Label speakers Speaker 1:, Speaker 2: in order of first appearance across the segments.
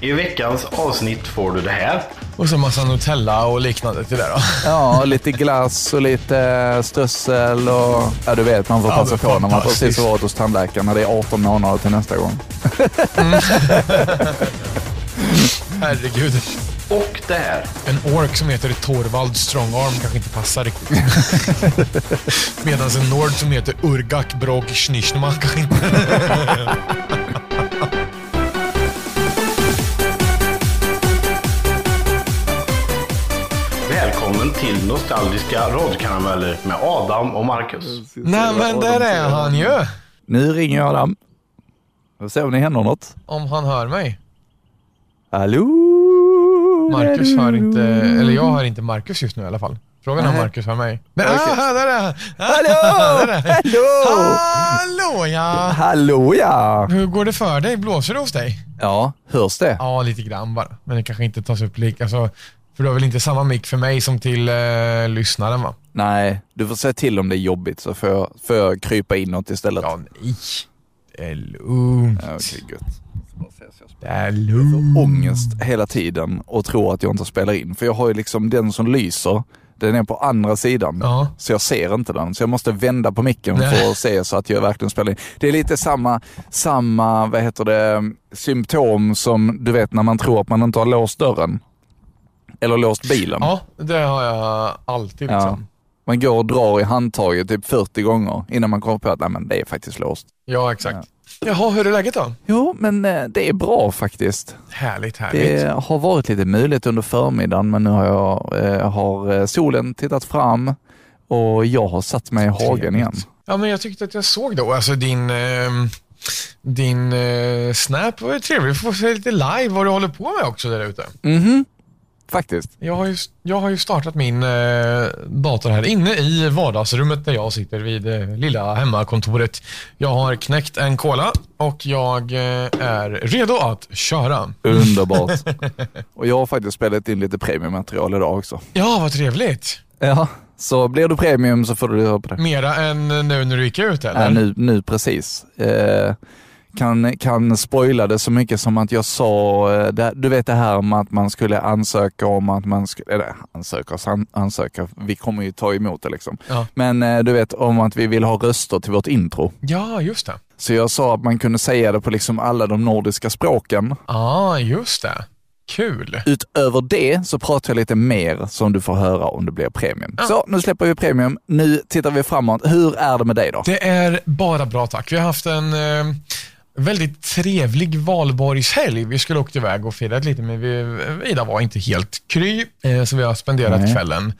Speaker 1: I veckans avsnitt får du det här.
Speaker 2: Och så massa Nutella och liknande till det då.
Speaker 3: Ja, och lite glass och lite eh, strössel och... Ja, du vet, man får
Speaker 2: Ja,
Speaker 3: passa
Speaker 2: men
Speaker 3: på när man
Speaker 2: fantastiskt.
Speaker 3: precis har varit hos tandläkaren. när Det är 18 månader till nästa gång. Mm.
Speaker 2: Herregud.
Speaker 1: Och det här.
Speaker 2: En ork som heter Torvald Strongarm kanske inte passar riktigt. Medan en nord som heter Urgak Brog Schnishnma kanske inte...
Speaker 1: Välkommen till Nostalgiska radiokarameller med Adam och Marcus.
Speaker 2: Nej men där är han ju!
Speaker 3: Nu ringer jag Adam. Vi får se om det händer något.
Speaker 2: Om han hör mig.
Speaker 3: Hallå?
Speaker 2: Marcus hör inte... Eller jag hör inte Marcus just nu i alla fall. Frågan är om
Speaker 3: Nej.
Speaker 2: Marcus hör mig. Men
Speaker 3: Okej.
Speaker 2: ah, där är han!
Speaker 3: Hallå! Hallå!
Speaker 2: Hallå ja!
Speaker 3: Hallå ja!
Speaker 2: Hur går det för dig? Blåser det hos dig?
Speaker 3: Ja, hörs det?
Speaker 2: Ja, lite grann bara. Men det kanske inte tas upp lika. Alltså, för du har väl inte samma mick för mig som till eh, lyssnaren va?
Speaker 3: Nej, du får säga till om det är jobbigt så får jag, får jag krypa inåt istället.
Speaker 2: Ja, nej. Det är lugnt.
Speaker 3: Ja, Okej, gött.
Speaker 2: Det är lugnt.
Speaker 3: Ångest hela tiden och tror att jag inte spelar in. För jag har ju liksom den som lyser, den är på andra sidan.
Speaker 2: Ja.
Speaker 3: Så jag ser inte den. Så jag måste vända på micken
Speaker 2: Nej.
Speaker 3: för att se så att jag verkligen spelar in. Det är lite samma, samma, vad heter det, symptom som du vet när man tror att man inte har låst dörren. Eller låst bilen.
Speaker 2: Ja, det har jag alltid liksom.
Speaker 3: Man går och drar i handtaget typ 40 gånger innan man kommer på att nej, men det är faktiskt låst.
Speaker 2: Ja, exakt. Jaha, hur är läget då?
Speaker 3: Jo, men eh, det är bra faktiskt.
Speaker 2: Härligt, härligt.
Speaker 3: Det har varit lite muligt under förmiddagen, men nu har, jag, eh, har eh, solen tittat fram och jag har satt mig i hagen igen.
Speaker 2: Ja, men jag tyckte att jag såg då, alltså din... ehm, din eh, Snap var ju trevlig. Vi får se lite live vad du håller på med också där ute.
Speaker 3: Mhm, faktiskt.
Speaker 2: Jag har ju, jag har ju startat min eh, dator här inne i vardagsrummet där jag sitter vid eh, lilla hemmakontoret. Jag har knäckt en cola och jag eh, är redo att köra.
Speaker 3: Underbart. och jag har faktiskt spelat in lite premiummaterial idag också.
Speaker 2: Ja, vad trevligt.
Speaker 3: Ja, så blir du premium så får du höra på det.
Speaker 2: Mera än nu när du gick ut eller?
Speaker 3: Ja, nu, nu precis. Eh, kan, kan spoila det så mycket som att jag sa, eh, det, du vet det här med att man skulle ansöka om att man skulle, eller ansöka, san- ansöka, vi kommer ju ta emot det liksom.
Speaker 2: Ja.
Speaker 3: Men eh, du vet om att vi vill ha röster till vårt intro.
Speaker 2: ja, just det.
Speaker 3: Så jag sa att man kunde säga det på liksom alla de nordiska språken.
Speaker 2: Ja, just det. Kul.
Speaker 3: Utöver det så pratar jag lite mer som du får höra om det blir premium.
Speaker 2: Ah.
Speaker 3: Så nu släpper vi premium, nu tittar vi framåt. Hur är det med dig då?
Speaker 2: Det är bara bra tack. Vi har haft en eh, väldigt trevlig valborgshelg. Vi skulle åkt iväg och firat lite men vi, Ida var inte helt kry eh, så vi har spenderat
Speaker 3: Nej.
Speaker 2: kvällen,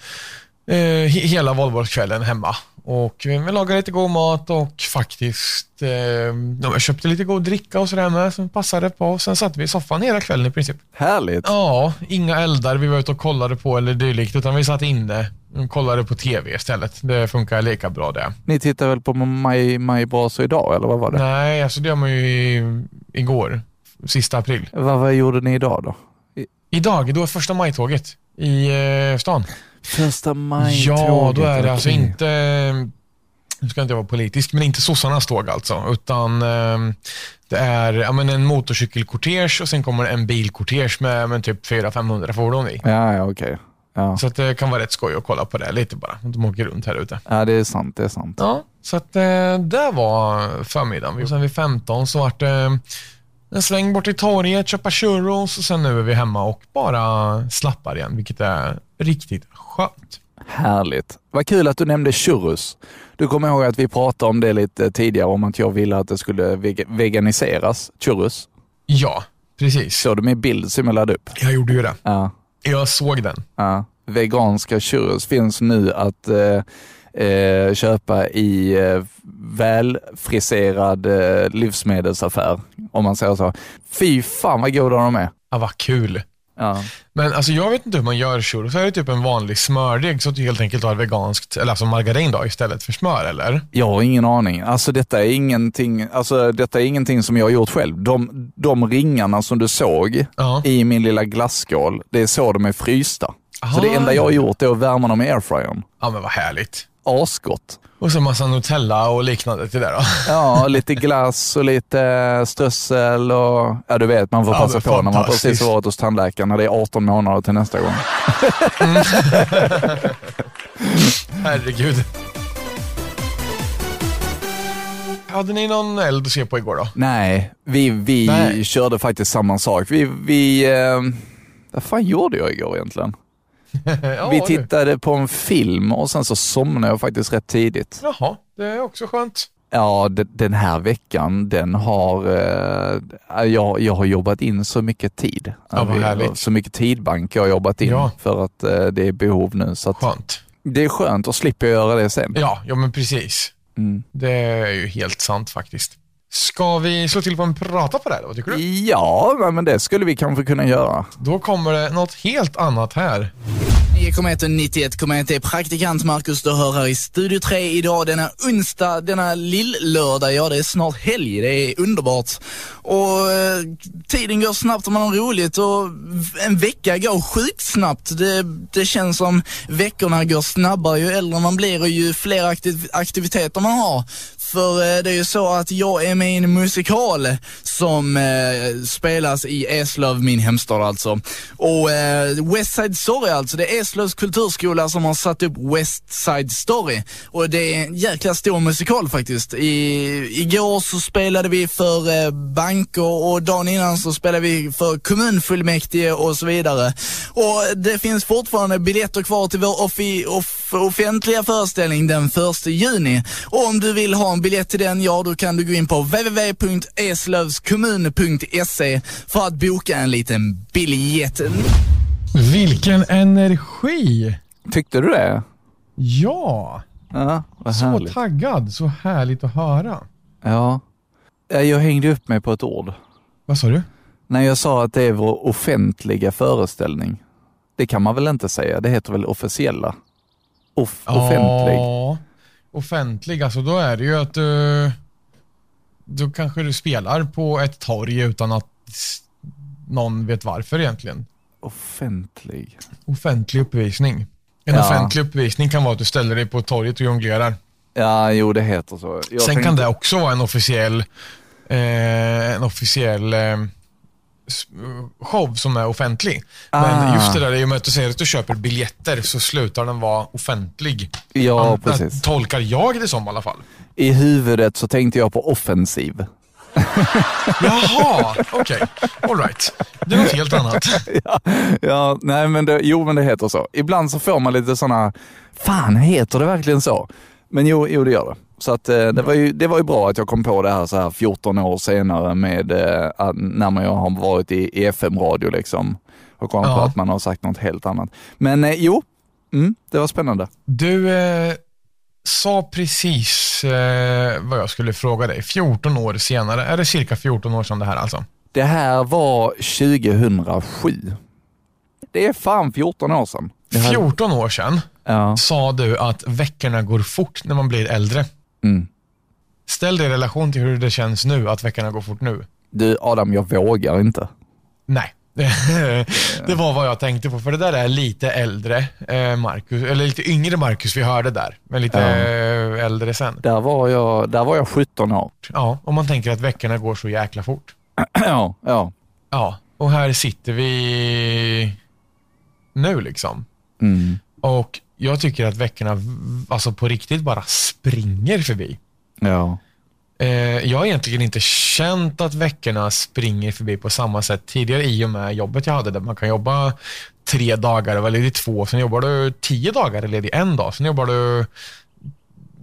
Speaker 2: eh, he- hela valborgskvällen hemma. Och eh, vi lagade lite god mat och faktiskt eh, ja, jag köpte lite god dricka och sådär med som passade på. Sen satt vi i soffan hela kvällen i princip.
Speaker 3: Härligt!
Speaker 2: Ja, inga eldar vi var ute och kollade på eller dylikt utan vi satt inne och kollade på tv istället. Det funkar lika bra det.
Speaker 3: Ni tittar väl på Maj, Maj Braso idag, eller vad var det?
Speaker 2: Nej, alltså det gör man ju i, igår, sista april.
Speaker 3: Vad, vad gjorde ni idag då?
Speaker 2: Idag, då är första maj-tåget i eh, stan.
Speaker 3: Första maj
Speaker 2: ja, då är det alltså inte, nu ska inte jag vara politisk, men inte sossarnas tåg alltså, utan eh, det är ja, men en motorcykelkortege och sen kommer en bilkortege med, med typ 400-500 fordon i.
Speaker 3: Ja, ja okej. Ja.
Speaker 2: Så att det kan vara rätt skoj att kolla på det lite bara, att de åker runt här ute.
Speaker 3: ja, det är sant. Det är sant.
Speaker 2: Ja, så att eh, det var förmiddagen. Och sen vid 15 så vart det eh, en sväng bort till torget, köpa churros och sen nu är vi hemma och bara slappar igen, vilket är riktigt skönt.
Speaker 3: Härligt. Vad kul att du nämnde churros. Du kommer ihåg att vi pratade om det lite tidigare, om att jag ville att det skulle veg- veganiseras, churros.
Speaker 2: Ja, precis.
Speaker 3: Såg du min bild som jag laddade upp?
Speaker 2: Jag gjorde ju det.
Speaker 3: Ja.
Speaker 2: Jag såg den.
Speaker 3: ja. Veganska churros finns nu att eh, eh, köpa i eh, välfriserad eh, livsmedelsaffär, om man säger så. Fy fan vad goda de är.
Speaker 2: Ja, vad kul.
Speaker 3: Ja.
Speaker 2: Men alltså, jag vet inte hur man gör churros. Är det typ en vanlig smördeg så att du helt enkelt har veganskt, eller alltså margarin då, istället för smör eller?
Speaker 3: Jag har ingen aning. Alltså detta är ingenting, alltså, detta är ingenting som jag har gjort själv. De, de ringarna som du såg
Speaker 2: Ja.
Speaker 3: i min lilla glasskål, det är så de är frysta.
Speaker 2: Aha.
Speaker 3: Så det enda jag har gjort är att värma dem i airfryern.
Speaker 2: Ja, men vad härligt.
Speaker 3: Asgott.
Speaker 2: Och så massa Nutella och liknande till det då.
Speaker 3: Ja, lite glass och lite eh, strössel och... Ja, du vet, man får
Speaker 2: Ja,
Speaker 3: passa
Speaker 2: men
Speaker 3: på när man
Speaker 2: fantastiskt.
Speaker 3: precis har varit hos tandläkaren när det är 18 månader till nästa gång.
Speaker 2: Herregud. Hade ni någon eld att se på igår då?
Speaker 3: Nej, vi, vi
Speaker 2: Nej.
Speaker 3: körde faktiskt samma sak. Vi... vi eh, vad fan gjorde jag igår egentligen?
Speaker 2: Eh, Ja,
Speaker 3: vi
Speaker 2: du.
Speaker 3: tittade på en film och sen så somnade jag faktiskt rätt tidigt.
Speaker 2: Jaha, det är också skönt.
Speaker 3: Ja, de- den här veckan, den har... Eh, jag, jag har jobbat in så mycket tid. Eh,
Speaker 2: Ja, vad härligt.
Speaker 3: Så mycket tidbank jag har jobbat in
Speaker 2: Ja.
Speaker 3: för att eh, det är behov nu. Så att
Speaker 2: Skönt.
Speaker 3: det är skönt och slipper jag göra det sen.
Speaker 2: Ja, ja men precis.
Speaker 3: Mm.
Speaker 2: Det är ju helt sant faktiskt. Ska vi slå till på en prata på det här då? Vad tycker du?
Speaker 3: Ja, nej, men det skulle vi kanske kunna göra.
Speaker 2: Då kommer det något helt annat här.
Speaker 4: 9,1 och 91,1 är praktikant Marcus du hör här i Studio 3 idag denna onsdag, denna lill-lördag. Ja, det är snart helg. Det är underbart. Och eh, tiden går snabbt om man har roligt och v- en vecka går sjukt snabbt. Det, det känns som veckorna går snabbare ju äldre man blir och ju fler aktiv- aktiviteter man har. För eh, det är ju så att jag är med i en musikal som eh, spelas i Eslöv, min hemstad alltså. Och eh, West Side Story alltså, det är Eslövs kulturskola som har satt upp West Side Story. Och det är en jäkla stor musikal faktiskt. I, igår så spelade vi för eh, banker och dagen innan så spelade vi för kommunfullmäktige och så vidare. Och det finns fortfarande biljetter kvar till vår offi, off, offentliga föreställning den 1 juni. Och om du vill ha en biljett till den, ja då kan du gå in på www.eslövskommun.se för att boka en liten biljett.
Speaker 2: Vilken energi!
Speaker 3: Tyckte du det?
Speaker 2: Ja,
Speaker 3: Ja, vad
Speaker 2: så
Speaker 3: härligt.
Speaker 2: taggad. Så härligt att höra.
Speaker 3: Ja. Eh, Jag hängde upp mig på ett ord.
Speaker 2: Vad sa du?
Speaker 3: När jag sa att det är vår offentliga föreställning. Det kan man väl inte säga? Det heter väl officiella? Off- offentlig?
Speaker 2: Ja, offentlig. Alltså då är det ju att du... Då kanske du spelar på ett torg utan att s- någon vet varför egentligen.
Speaker 3: Offentlig.
Speaker 2: Offentlig uppvisning. En
Speaker 3: Ja.
Speaker 2: offentlig uppvisning kan vara att du ställer dig på torget och jonglerar.
Speaker 3: Ja, jo det heter så. Jag
Speaker 2: Sen
Speaker 3: tänkte-
Speaker 2: kan det också vara en officiell, eh, en officiell eh, s- show som är offentlig.
Speaker 3: Ah.
Speaker 2: Men just det där i och med att du säger att du köper biljetter så slutar den vara offentlig.
Speaker 3: Ja,
Speaker 2: An-
Speaker 3: precis.
Speaker 2: Tolkar jag det som i alla fall.
Speaker 3: I huvudet så tänkte jag på offensiv.
Speaker 2: Jaha, okej. All right. Det är något helt annat.
Speaker 3: Ja, nej men det, jo men det heter så. Ibland så får man lite sådana, fan heter det verkligen så? Men jo, jo det gör det. Så att, eh, det, var ju, det var ju bra att jag kom på det här så här 14 år senare med eh, att när man jag har varit i i FM-radio liksom. Och kom på
Speaker 2: Ja.
Speaker 3: att man har sagt något helt annat. Men eh, jo, mm, det var spännande.
Speaker 2: Du eh, sa precis eh, vad jag skulle fråga dig. 14 år senare, är det cirka 14 år sedan det här alltså?
Speaker 3: Det här var 2007. Det är fan 14 år sedan. Det här-
Speaker 2: 14 år sedan
Speaker 3: Ja.
Speaker 2: sa du att veckorna går fort när man blir äldre.
Speaker 3: Mm.
Speaker 2: Ställ det i relation till hur det känns nu att veckorna går fort nu.
Speaker 3: Du Adam, jag vågar inte.
Speaker 2: Nej. det var vad jag tänkte på, för det där är lite äldre eh, Marcus, eller lite yngre Marcus vi hörde där, men lite
Speaker 3: Ja.
Speaker 2: eh, äldre sen.
Speaker 3: Där var jag, där var jag 17 år.
Speaker 2: Ja, om man tänker att veckorna går så jäkla fort.
Speaker 3: Ja, ja.
Speaker 2: Ja, och här sitter vi nu liksom.
Speaker 3: Mm.
Speaker 2: Och jag tycker att veckorna v- alltså på riktigt bara springer förbi.
Speaker 3: Ja.
Speaker 2: Eh, jag har egentligen inte känt att veckorna springer förbi på samma sätt tidigare i och med jobbet jag hade där man kan jobba tre dagar och vara ledig två, sen jobbar du tio dagar eller ledig en dag, sen jobbar du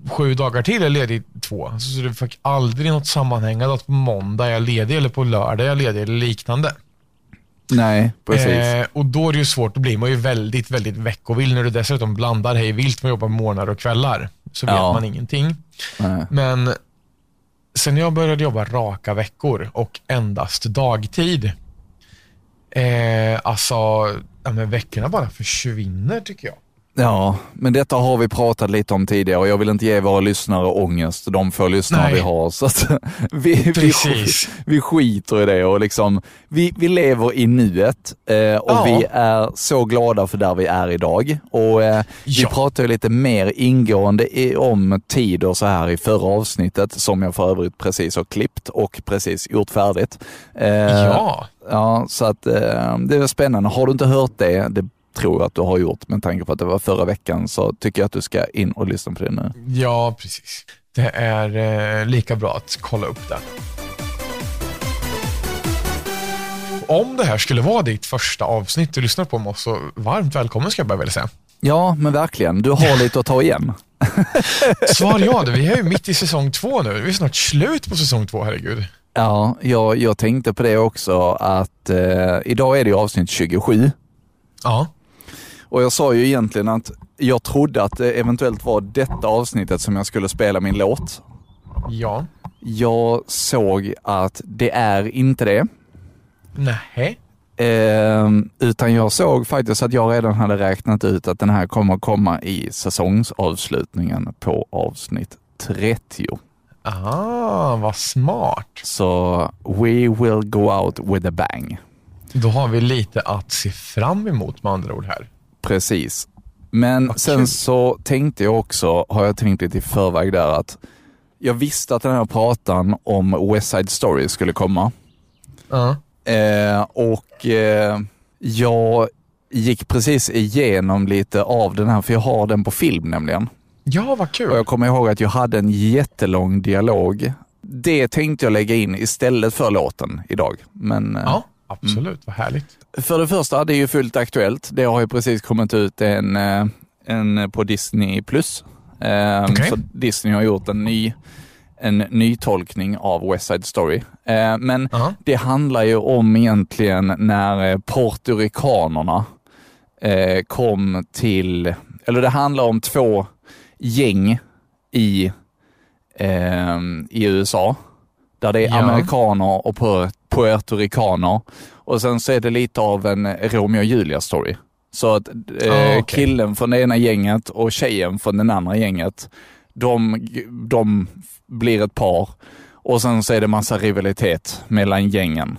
Speaker 2: sju dagar till eller ledig två. Alltså, Så du fick aldrig något sammanhängande att på måndag är jag ledig eller på lördag är jag ledig eller liknande.
Speaker 3: Nej, precis.
Speaker 2: Eh, och då är det ju svårt, då blir man ju väldigt, väldigt veckovill när du dessutom blandar hej vilt med att jobba morgnar och kvällar. Så vet
Speaker 3: Ja.
Speaker 2: man ingenting.
Speaker 3: Nej.
Speaker 2: Men sen jag började jobba raka veckor och endast dagtid, eh, alltså ja, men veckorna bara försvinner tycker jag.
Speaker 3: Ja, men detta har vi pratat lite om tidigare och jag vill inte ge våra lyssnare ångest, de få lyssnare
Speaker 2: Nej.
Speaker 3: vi har. Så att vi, vi,
Speaker 2: Precis.
Speaker 3: vi skiter i det och liksom, vi, vi lever i nuet eh, och
Speaker 2: Ja.
Speaker 3: vi är så glada för där vi är idag. Och, eh, vi
Speaker 2: Ja.
Speaker 3: pratar ju lite mer ingående i, om tid och så här i förra avsnittet som jag för övrigt precis har klippt och precis gjort färdigt. Eh,
Speaker 2: Ja,
Speaker 3: Ja, så att eh, det är spännande. Har du inte hört det, det tror jag att du har gjort med tanke på att det var förra veckan, så tycker jag att du ska in och lyssna på det nu.
Speaker 2: ja, precis. Det är eh, lika bra att kolla upp det. Om det här skulle vara ditt första avsnitt du lyssnar på med oss, så varmt välkommen ska jag bara vilja säga.
Speaker 3: Ja, men verkligen. Du har lite att ta igen.
Speaker 2: Svar ja, du. vi är ju mitt i säsong två nu. Vi är snart slut på säsong två, herregud.
Speaker 3: Ja, jag, jag tänkte på det också att eh, idag är det ju avsnitt 27
Speaker 2: Ja,
Speaker 3: och jag sa ju egentligen att jag trodde att det eventuellt var detta avsnittet som jag skulle spela min låt.
Speaker 2: ja,
Speaker 3: Jag såg att det är inte det.
Speaker 2: nej.
Speaker 3: Eh, utan jag såg faktiskt att jag redan hade räknat ut att den här kommer komma i säsongsavslutningen på avsnitt 30.
Speaker 2: Ah, vad smart.
Speaker 3: Så we will go out with a bang.
Speaker 2: Då har vi lite att se fram emot med andra ord här.
Speaker 3: Precis. Men
Speaker 2: Vad
Speaker 3: sen
Speaker 2: kul.
Speaker 3: så tänkte jag också, har jag tänkt lite i förväg där, att jag visste att den här pratan om West Side Story skulle komma.
Speaker 2: Ja.
Speaker 3: Eh, och eh, jag gick precis igenom lite av den här, för jag har den på film nämligen.
Speaker 2: ja, vad kul.
Speaker 3: Och jag kommer ihåg att jag hade en jättelång dialog. Det tänkte jag lägga in istället för låten idag. Men eh,
Speaker 2: Ja, absolut. Vad härligt.
Speaker 3: för det första, det är ju fullt aktuellt. Det har ju precis kommit ut en, eh, en på Disney+. Plus. Eh,
Speaker 2: Okej.
Speaker 3: Så Disney har gjort en ny, en ny tolkning av West Side Story. Eh, Men
Speaker 2: Ja.
Speaker 3: det handlar ju om egentligen när eh, porturikanerna eh, kom till, eller det handlar om två gäng i, eh, i USA. Där det är
Speaker 2: Ja.
Speaker 3: amerikaner och puer- puertorikaner. Och sen så är det lite av en Romeo och Julia story. Så att eh,
Speaker 2: Ah, okej.
Speaker 3: killen från det ena gänget och tjejen från det andra gänget, de, de blir ett par. Och sen så är det massa rivalitet mellan gängen.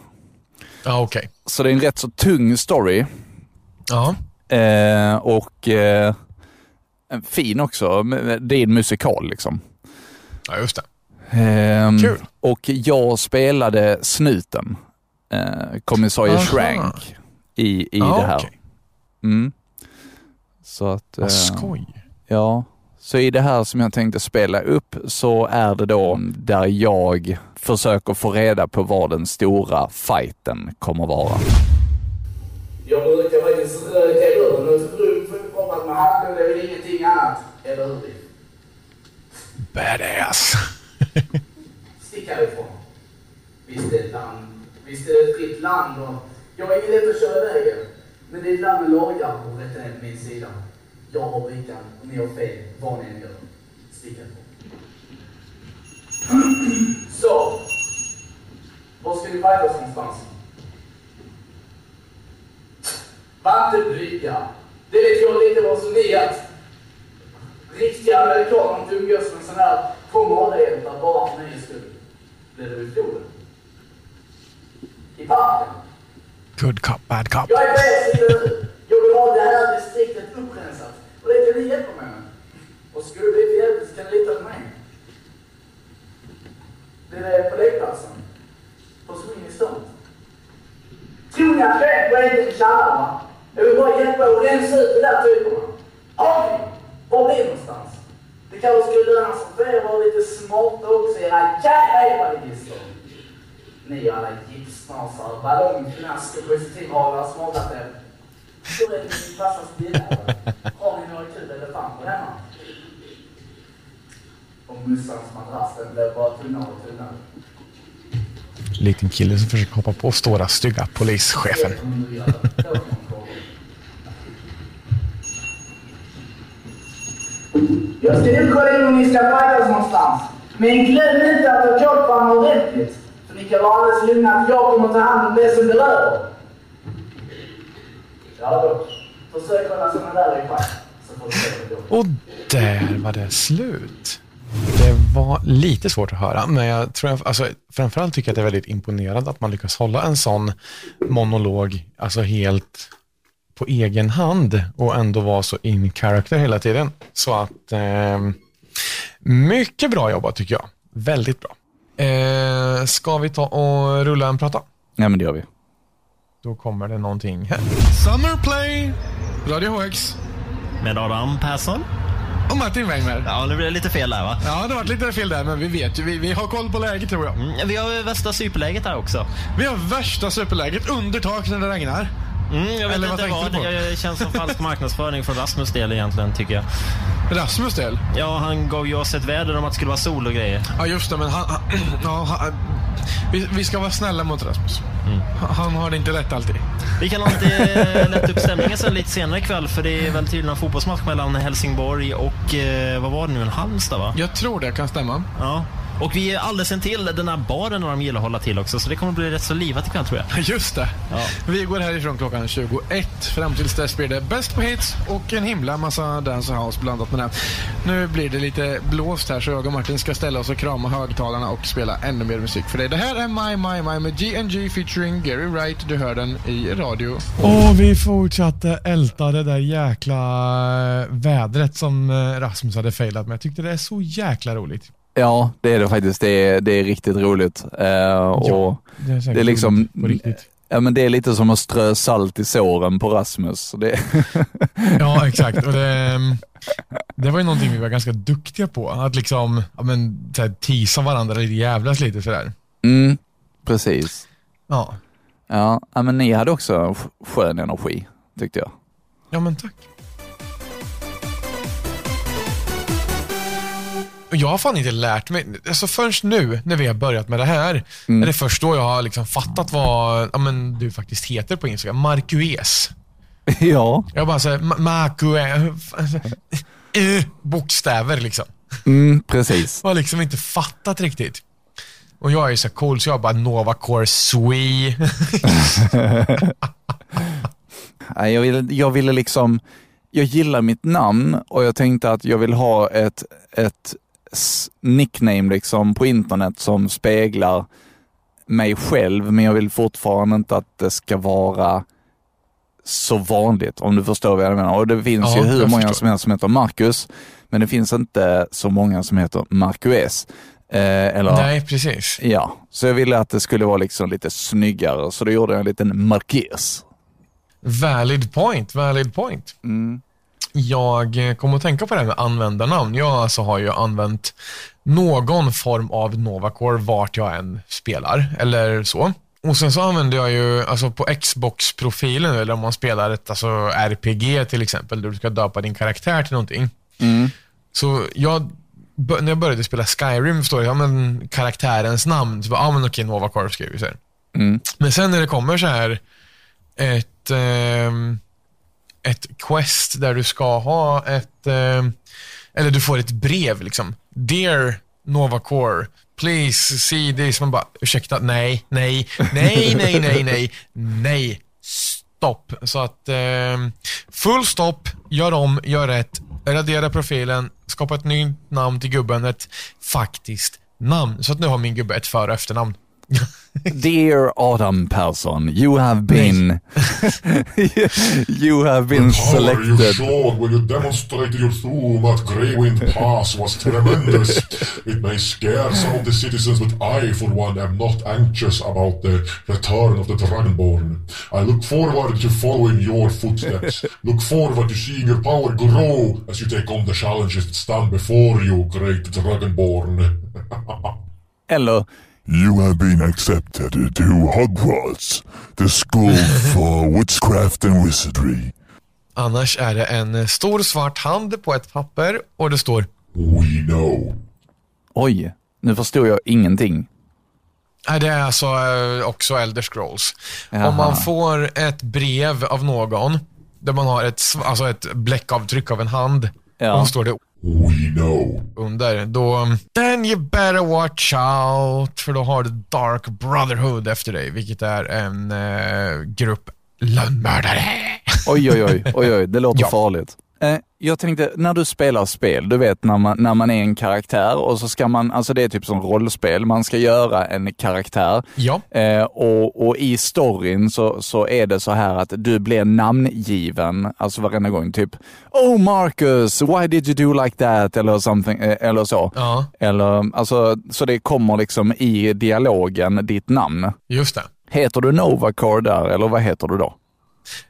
Speaker 2: Ja, okej.
Speaker 3: Så det är en rätt så tung story.
Speaker 2: Ja.
Speaker 3: Eh, och eh, en fin också. Men Det är en musikal liksom.
Speaker 2: ja, just det.
Speaker 3: Ehm,
Speaker 2: Kul.
Speaker 3: Och jag spelade snuten, eh, kommissarie
Speaker 2: Aha.
Speaker 3: Shrank, i, i
Speaker 2: ja,
Speaker 3: det här.
Speaker 2: okej.
Speaker 3: Mm. Så att, eh,
Speaker 2: Vad skoj.
Speaker 3: ja. Så i det här som jag tänkte spela upp så är det då där jag försöker få reda på vad den stora fighten kommer vara.
Speaker 5: Jag brukar faktiskt röka ur något grymt förkoppat med alkohol. Det är väl ingenting annat, eller hur?
Speaker 2: Badass.
Speaker 5: Stick härifrån. Visst är det ett land. Visst är det ett fritt land och jag har inget lätt att köra iväg er. Men det är ett land med lagar och rätten är på min sida. Jag har brickan och ni har fel, vad ni än gör. Stick härifrån. Så. Var ska ni fightas någonstans? Vattenbrygga. Det vet jag lite vad som ni att Riktiga amerikaner som umgås med sån här promenadhjältar bara för nöjes skull. Blev det vid floden? I parken?
Speaker 2: Good cop, bad cop.
Speaker 5: Jag är på er sida nu. Jag vill ha det här distriktet upprensat. Och det kan ni hjälpa mig med. Och skulle det bli för jävligt så kan ni lita på mig. Det är på lekplatsen. På Sweeney Stone. Tror ni att jag är inte klarar va? Jag vill bara hjälpa er att rensa ut de där typerna. Har ni? Var blir det någonstans? Det kanske skulle löna sig för er att vara lite smarta också era jävla evangelister. Ni alla gipsnasar, ballongflaskor, positivhavare, smakat det. Hur är det med klassens bilder? Har ni några kul elefanter hemma? Och mussans madrass, den blev bara tunnare och tunnare.
Speaker 2: Liten kille som försöker hoppa på stora stygga polischefen.
Speaker 5: Det kommer du göra. Det kommer du ihåg. Jag ska nu kolla in om ni ska fightas någonstans. Men glöm inte att ta koll på honom ordentligt. För ni kan vara alldeles lugna att jag kommer ta hand om det som berör. Ja då. Försök hålla såna där i schack. Så får vi se hur det går.
Speaker 2: Och där var det slut. Det var lite svårt att höra, men jag tror jag, alltså, framförallt tycker jag att det är väldigt imponerande att man lyckas hålla en sån monolog, alltså helt på egen hand och ändå vara så in character hela tiden. Så att eh, mycket bra jobbat tycker jag. Väldigt bra. Eh, ska vi ta och rulla en prata?
Speaker 3: Ja, men det gör vi.
Speaker 2: Då kommer det någonting här. Summerplay, Radio HX
Speaker 6: Med Adam Persson.
Speaker 2: och Martin Weimer.
Speaker 6: Ja, nu blir det lite fel där va?
Speaker 2: Ja, det har varit lite fel där, men vi vet ju. Vi, vi har koll på läget tror jag. Mm.
Speaker 6: Mm, Vi har ju värsta superläget här också.
Speaker 2: Vi har värsta superläget under tak när det regnar.
Speaker 6: Mm, jag vet
Speaker 2: Eller vad
Speaker 6: inte
Speaker 2: tänkte
Speaker 6: vad.
Speaker 2: du på?
Speaker 6: Det känns som falsk marknadsföring för Rasmus del egentligen tycker jag.
Speaker 2: Rasmus del?
Speaker 6: Ja, han gav ju oss ett väder om att det skulle vara sol och grejer.
Speaker 2: Ja, just det, men han... han ja, han vi, vi ska vara snälla mot Rasmus. Han- Han har det inte lätt alltid.
Speaker 6: Vi kan alltid eh, lätta upp stämningen sen lite senare ikväll för det är väl tydligen en fotbollsmatch mellan Helsingborg och, eh, vad var det nu, en Halmstad va?
Speaker 2: Jag tror det kan stämma.
Speaker 6: Ja. Och vi är alldeles intill den här baren där de gillar att hålla till också så det kommer bli rätt så livat ikväll tror jag.
Speaker 2: Just det.
Speaker 6: Ja.
Speaker 2: Vi går härifrån klockan 21. Fram tills dess blir det bäst på hits och en himla massa dance house blandat med det. Nu blir det lite blåst här så jag och Martin ska ställa oss och krama högtalarna och spela ännu mer musik för dig. Det här är My My My med GNG featuring Gary Wright. Du hör den i radio. Och vi fortsatte älta det där jäkla eh, vädret som eh, Rasmus hade failat med. Jag tyckte det är så jäkla roligt.
Speaker 3: Ja, det är det faktiskt. Det är, det är riktigt roligt. Eh, och
Speaker 2: det är,
Speaker 3: det är liksom... Ja, men det är lite som att strö salt i såren på Rasmus. Så Det,
Speaker 2: Ja, exakt. Och det, ehm, det var ju någonting vi var ganska duktiga på. Att liksom ja, men, så här, tisa varandra lite, jävlas lite sådär.
Speaker 3: mm, precis.
Speaker 2: Ja.
Speaker 3: Ja, ja, men ni hade också en sk- skön energi, tyckte jag.
Speaker 2: ja, men tack. Och Jag har fan inte lärt mig, alltså först nu när vi har börjat med det här, är det först då jag har liksom fattat vad ja, men du faktiskt heter på Instagram. Markues.
Speaker 3: ja.
Speaker 2: Jag bara såhär, Ma- Markues. Eh, Bokstäver liksom.
Speaker 3: Mm, precis.
Speaker 2: Jag har liksom inte fattat riktigt. Och jag är ju så här cool så jag bara Novacore Swe.
Speaker 3: Nej, Jag ville, jag ville liksom... Jag gillar mitt namn och jag tänkte att jag vill ha ett, ett s- nickname liksom på internet som speglar mig själv, men jag vill fortfarande inte att det ska vara så vanligt, om du förstår vad jag menar. Och det finns
Speaker 2: Ja,
Speaker 3: ju hur
Speaker 2: jag
Speaker 3: många
Speaker 2: förstår.
Speaker 3: som helst som heter Marcus, men det finns inte så många som heter Marcus. Eh, eller
Speaker 2: Nej, precis.
Speaker 3: Ja, så jag ville att det skulle vara liksom lite snyggare, så då gjorde jag en liten markis.
Speaker 2: Valid point, valid point. Jag eh, kom att tänka på det här med användarnamn. Jag alltså har ju använt någon form av Novacore vart jag än spelar eller så. Och sen så använder jag ju, alltså på Xbox-profilen, eller om man spelar ett alltså RPG till exempel, där du ska döpa din karaktär till någonting. Så jag, bör- när jag började spela Skyrim förstår jag, ja, men karaktärens namn, så bara, ja men okej, Novacore skriver vi så här. Men sen när det kommer så här ett, ehm, ett quest där du ska ha ett, ehm, eller du får ett brev liksom. Dear Novacore, please see this. Man bara, ursäkta, nej, nej, nej, nej, nej, nej, nej, stopp. Så att, ehm, full stopp, gör om, gör rätt, radera profilen, skapa ett nytt namn till gubben, ett faktiskt namn. Så att nu har min gubbe ett för och efternamn.
Speaker 3: Dear Adam Persson, you have been... you have been
Speaker 7: Power you
Speaker 3: selected.
Speaker 7: showed when you demonstrated your true but grey wind pass was tremendous. It may scare some of the citizens, but I, for one, am not anxious about the return of the Dragonborn. I look forward to following your footsteps. Look forward to seeing your power grow as you take on the challenges that stand before you, great Dragonborn.
Speaker 3: Eller,
Speaker 8: You have been accepted to Hogwarts, the school for witchcraft and wizardry.
Speaker 2: Annars är det en eh, stor svart hand på ett papper och det står
Speaker 7: We know.
Speaker 3: oj, nu förstår jag ingenting.
Speaker 2: Nej, det är alltså eh, också Elder Scrolls.
Speaker 3: Jaha.
Speaker 2: Om man får ett brev av någon där man har ett, sv- alltså ett bläckavtryck av en hand
Speaker 3: Ja.
Speaker 2: och så står det
Speaker 7: We know.
Speaker 2: under, då... mm, Then you better watch out, för då har du Dark Brotherhood efter dig, vilket är en eh, grupp lönnmördare.
Speaker 3: Oj, oj, oj, oj, oj det låter
Speaker 2: Ja.
Speaker 3: farligt. Eh, Jag tänkte, när du spelar spel, du vet när man, när man är en karaktär och så ska man, alltså det är typ som rollspel, man ska göra en karaktär.
Speaker 2: Ja.
Speaker 3: Eh, och, och i storyn så, så är det så här att du blir namngiven, alltså varenda gång, typ Oh Marcus, why did you do like that? Eller something, eh, eller så.
Speaker 2: Ja,
Speaker 3: Eller, alltså, så det kommer liksom i dialogen, ditt namn.
Speaker 2: just det.
Speaker 3: Heter du Novacor där, eller vad heter du då?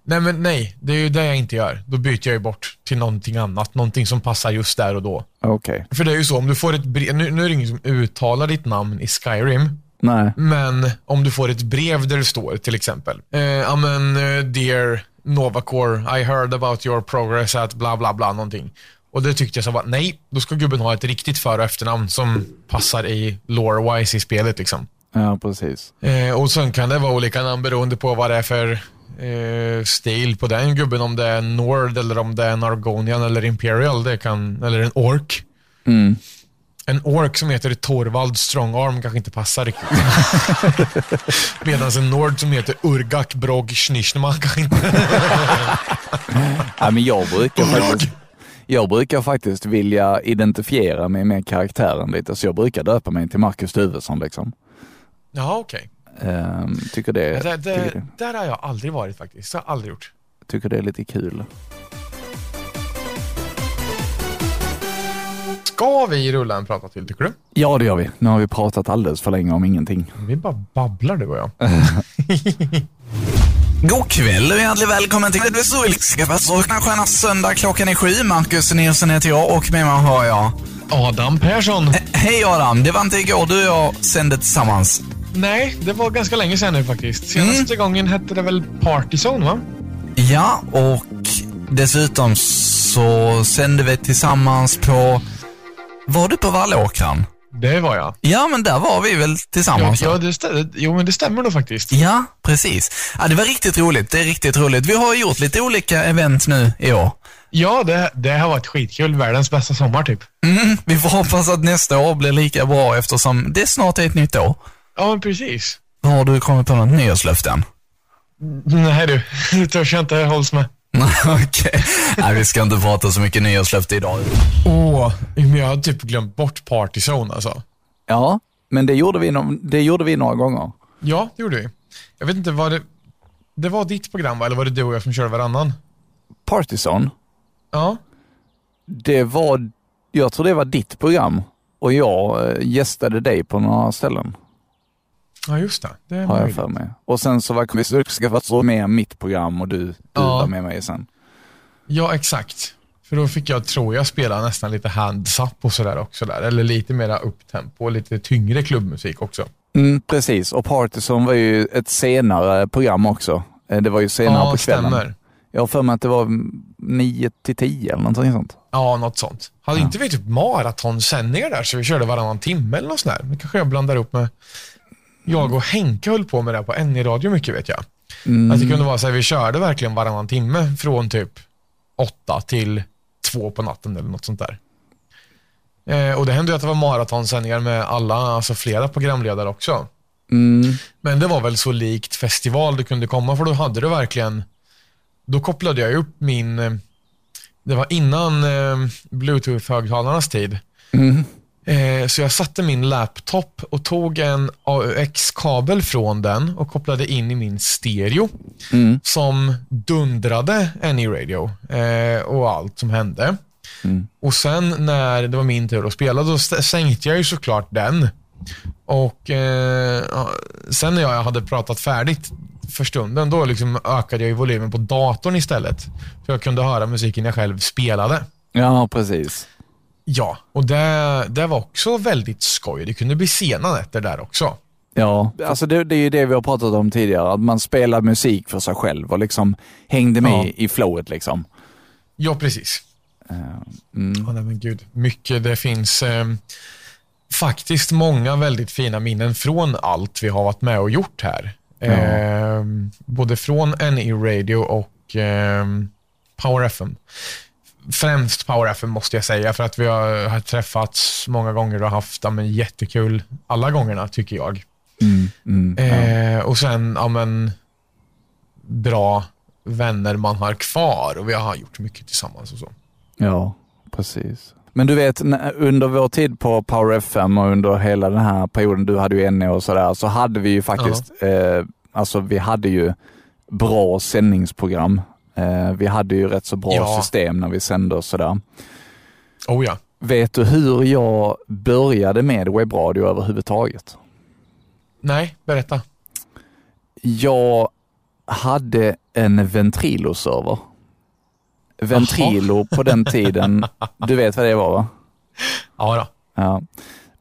Speaker 2: Nej, men nej, det är ju det jag inte gör. Då byter jag ju bort till någonting annat. Någonting som passar just där och då.
Speaker 3: Okej.
Speaker 2: För det är ju så, om du får ett brev, nu, nu är det ingen som uttalar ditt namn i Skyrim,
Speaker 3: Nej.
Speaker 2: men om du får ett brev där det står till exempel, eh, ja men eh, dear Novacore, I heard about your progress at bla bla bla någonting. Och det tyckte jag så bara, nej, då ska gubben ha ett riktigt för och efternamn som passar i lore-wise i spelet liksom.
Speaker 3: Ja, precis.
Speaker 2: Eh, och sen kan det vara olika namn beroende på vad det är för eh, stil på den gubben. Om det är en Nord eller om det är en Argonian eller Imperial. Det kan, eller en Ork. Mm. En Ork som heter Torvald Strongarm kanske inte passar riktigt. Medan en Nord som heter Urgak Brog Schnischneman kanske inte...
Speaker 3: Ja, men jag brukar faktiskt... Jag brukar faktiskt vilja identifiera mig med karaktären lite, så jag brukar döpa mig till Marcus Tuvesson liksom.
Speaker 2: Ja, okej.
Speaker 3: Ehm, tycker, det,
Speaker 2: Alltså, Det,
Speaker 3: tycker,
Speaker 2: det,
Speaker 3: det,
Speaker 2: där har jag aldrig varit faktiskt. Det har jag aldrig gjort.
Speaker 3: tycker det är lite kul.
Speaker 2: Ska vi rulla en prata till, tycker du?
Speaker 3: Ja, det gör vi. Nu har vi pratat alldeles för länge om ingenting.
Speaker 2: Vi bara babblar, du och jag.
Speaker 4: God kväll och hjärtligt välkommen till Edvin Zulkskaffa Saknar Stjärna Söndag. Klockan är sju. Marcus Nilsson heter jag och med mig har jag...
Speaker 2: Adam Persson.
Speaker 4: Hej Adam, det var inte igår du och jag sände tillsammans.
Speaker 2: Nej, det var ganska länge sedan nu faktiskt. Senaste gången hette det väl Partyzone, va?
Speaker 4: Ja, och dessutom så sände vi tillsammans på... Var du på Vallåkran?
Speaker 2: Det var jag.
Speaker 4: Ja, men där var vi väl
Speaker 2: Ja,
Speaker 4: tillsammans?
Speaker 2: ja, det stä- jo, men det stämmer nog faktiskt.
Speaker 4: Ja, precis. Ja, det var riktigt roligt. Det är riktigt roligt. Vi har gjort lite olika event nu i år.
Speaker 2: Ja, det, det har varit skitkul. Världens bästa sommar, typ.
Speaker 4: Mm, vi får hoppas att nästa år blir lika bra eftersom det snart är ett nytt år.
Speaker 2: Ja, men precis.
Speaker 4: Har du kommit på något nyårslöften?
Speaker 2: Nej du, det törs jag inte hålls med.
Speaker 4: Okej. Nej, vi ska inte prata så mycket nyårslöfte idag.
Speaker 2: Åh, men jag har typ glömt bort Partyzone alltså.
Speaker 3: Ja, men det gjorde vi, no- det gjorde vi några gånger.
Speaker 2: Ja, det gjorde vi. Jag vet inte, var det... Det var ditt program, va? Eller var det du och jag som körde varannan?
Speaker 3: Partison,
Speaker 2: Ja.
Speaker 3: det var, jag tror det var ditt program och jag eh, gästade dig på några ställen,
Speaker 2: Ja, just det. Det är
Speaker 3: har jag
Speaker 2: möjligt.
Speaker 3: för mig. Och sen så var vi Zulkskaffa med mitt program och du, du
Speaker 2: Ja.
Speaker 3: var med mig sen.
Speaker 2: Ja, exakt. För då fick jag, tror jag, spela nästan lite hands up och sådär också. Där. Eller lite mera upptempo och lite tyngre klubbmusik också.
Speaker 3: Mm, precis, och Partison var ju ett senare program också. Eh, Det var ju senare på kvällen.
Speaker 2: stämmer.
Speaker 3: Jag har för mig att det var mm, nio till tio eller någonting sånt.
Speaker 2: Ja, något sånt. Hade inte vi typ maratonsändningar där så vi körde varannan timme eller något sånt där? Det kanske jag blandar upp med... Jag och Henke höll på med det här på NE-radio mycket vet jag. Att det kunde vara så här, vi körde verkligen varannan timme från typ åtta till två på natten eller något sånt där. Eh, och det hände ju att det var maratonsändningar med alla, alltså flera programledare också.
Speaker 3: Mm.
Speaker 2: Men det var väl så likt festival du kunde komma för då hade du verkligen, då kopplade jag upp min, eh, det var innan eh, bluetooth-högtalarnas tid. Eh, så jag satte min laptop och tog en AUX-kabel från den och kopplade in i min stereo som dundrade Any-radio eh, och allt som hände. Och sen när det var min tur att spela, då st- sänkte jag ju såklart den. Och eh, ja, sen när jag hade pratat färdigt för stunden, då liksom ökade jag ju volymen på datorn istället. För jag kunde höra musiken jag själv spelade.
Speaker 3: Ja, precis.
Speaker 2: Ja, och det, det var också väldigt skoj. Det kunde bli sena nätter där också.
Speaker 3: Ja, alltså det, det är ju det vi har pratat om tidigare, att man spelar musik för sig själv och liksom hängde med
Speaker 2: Ja.
Speaker 3: i flowet liksom.
Speaker 2: Ja, precis.
Speaker 3: Ehm, mm.
Speaker 2: Ja, nej, men gud. Mycket. Det finns eh, faktiskt många väldigt fina minnen från allt vi har varit med och gjort här. Eh, både från NE Radio och eh, Power FM. Främst Power FM måste jag säga, för att vi har, har träffats många gånger och haft ja, men, jättekul alla gångerna, tycker jag. Ehm,
Speaker 3: Mm.
Speaker 2: Eh, och sen, ja men, bra vänner man har kvar och vi har gjort mycket tillsammans och så.
Speaker 3: Ja, precis. Men du vet, när- under vår tid på Power FM och under hela den här perioden, du hade ju NE och sådär, så hade vi ju faktiskt, eh, alltså vi hade ju bra sändningsprogram. Eh, vi hade ju rätt så bra
Speaker 2: Ja.
Speaker 3: system när vi sände och sådär.
Speaker 2: Oh ja.
Speaker 3: Vet du hur jag började med webbradio överhuvudtaget?
Speaker 2: Nej, berätta.
Speaker 3: Jag hade en Ventrilo-server. Ventrilo på den tiden, du vet vad det var va?
Speaker 2: Ja, då.
Speaker 3: Ja.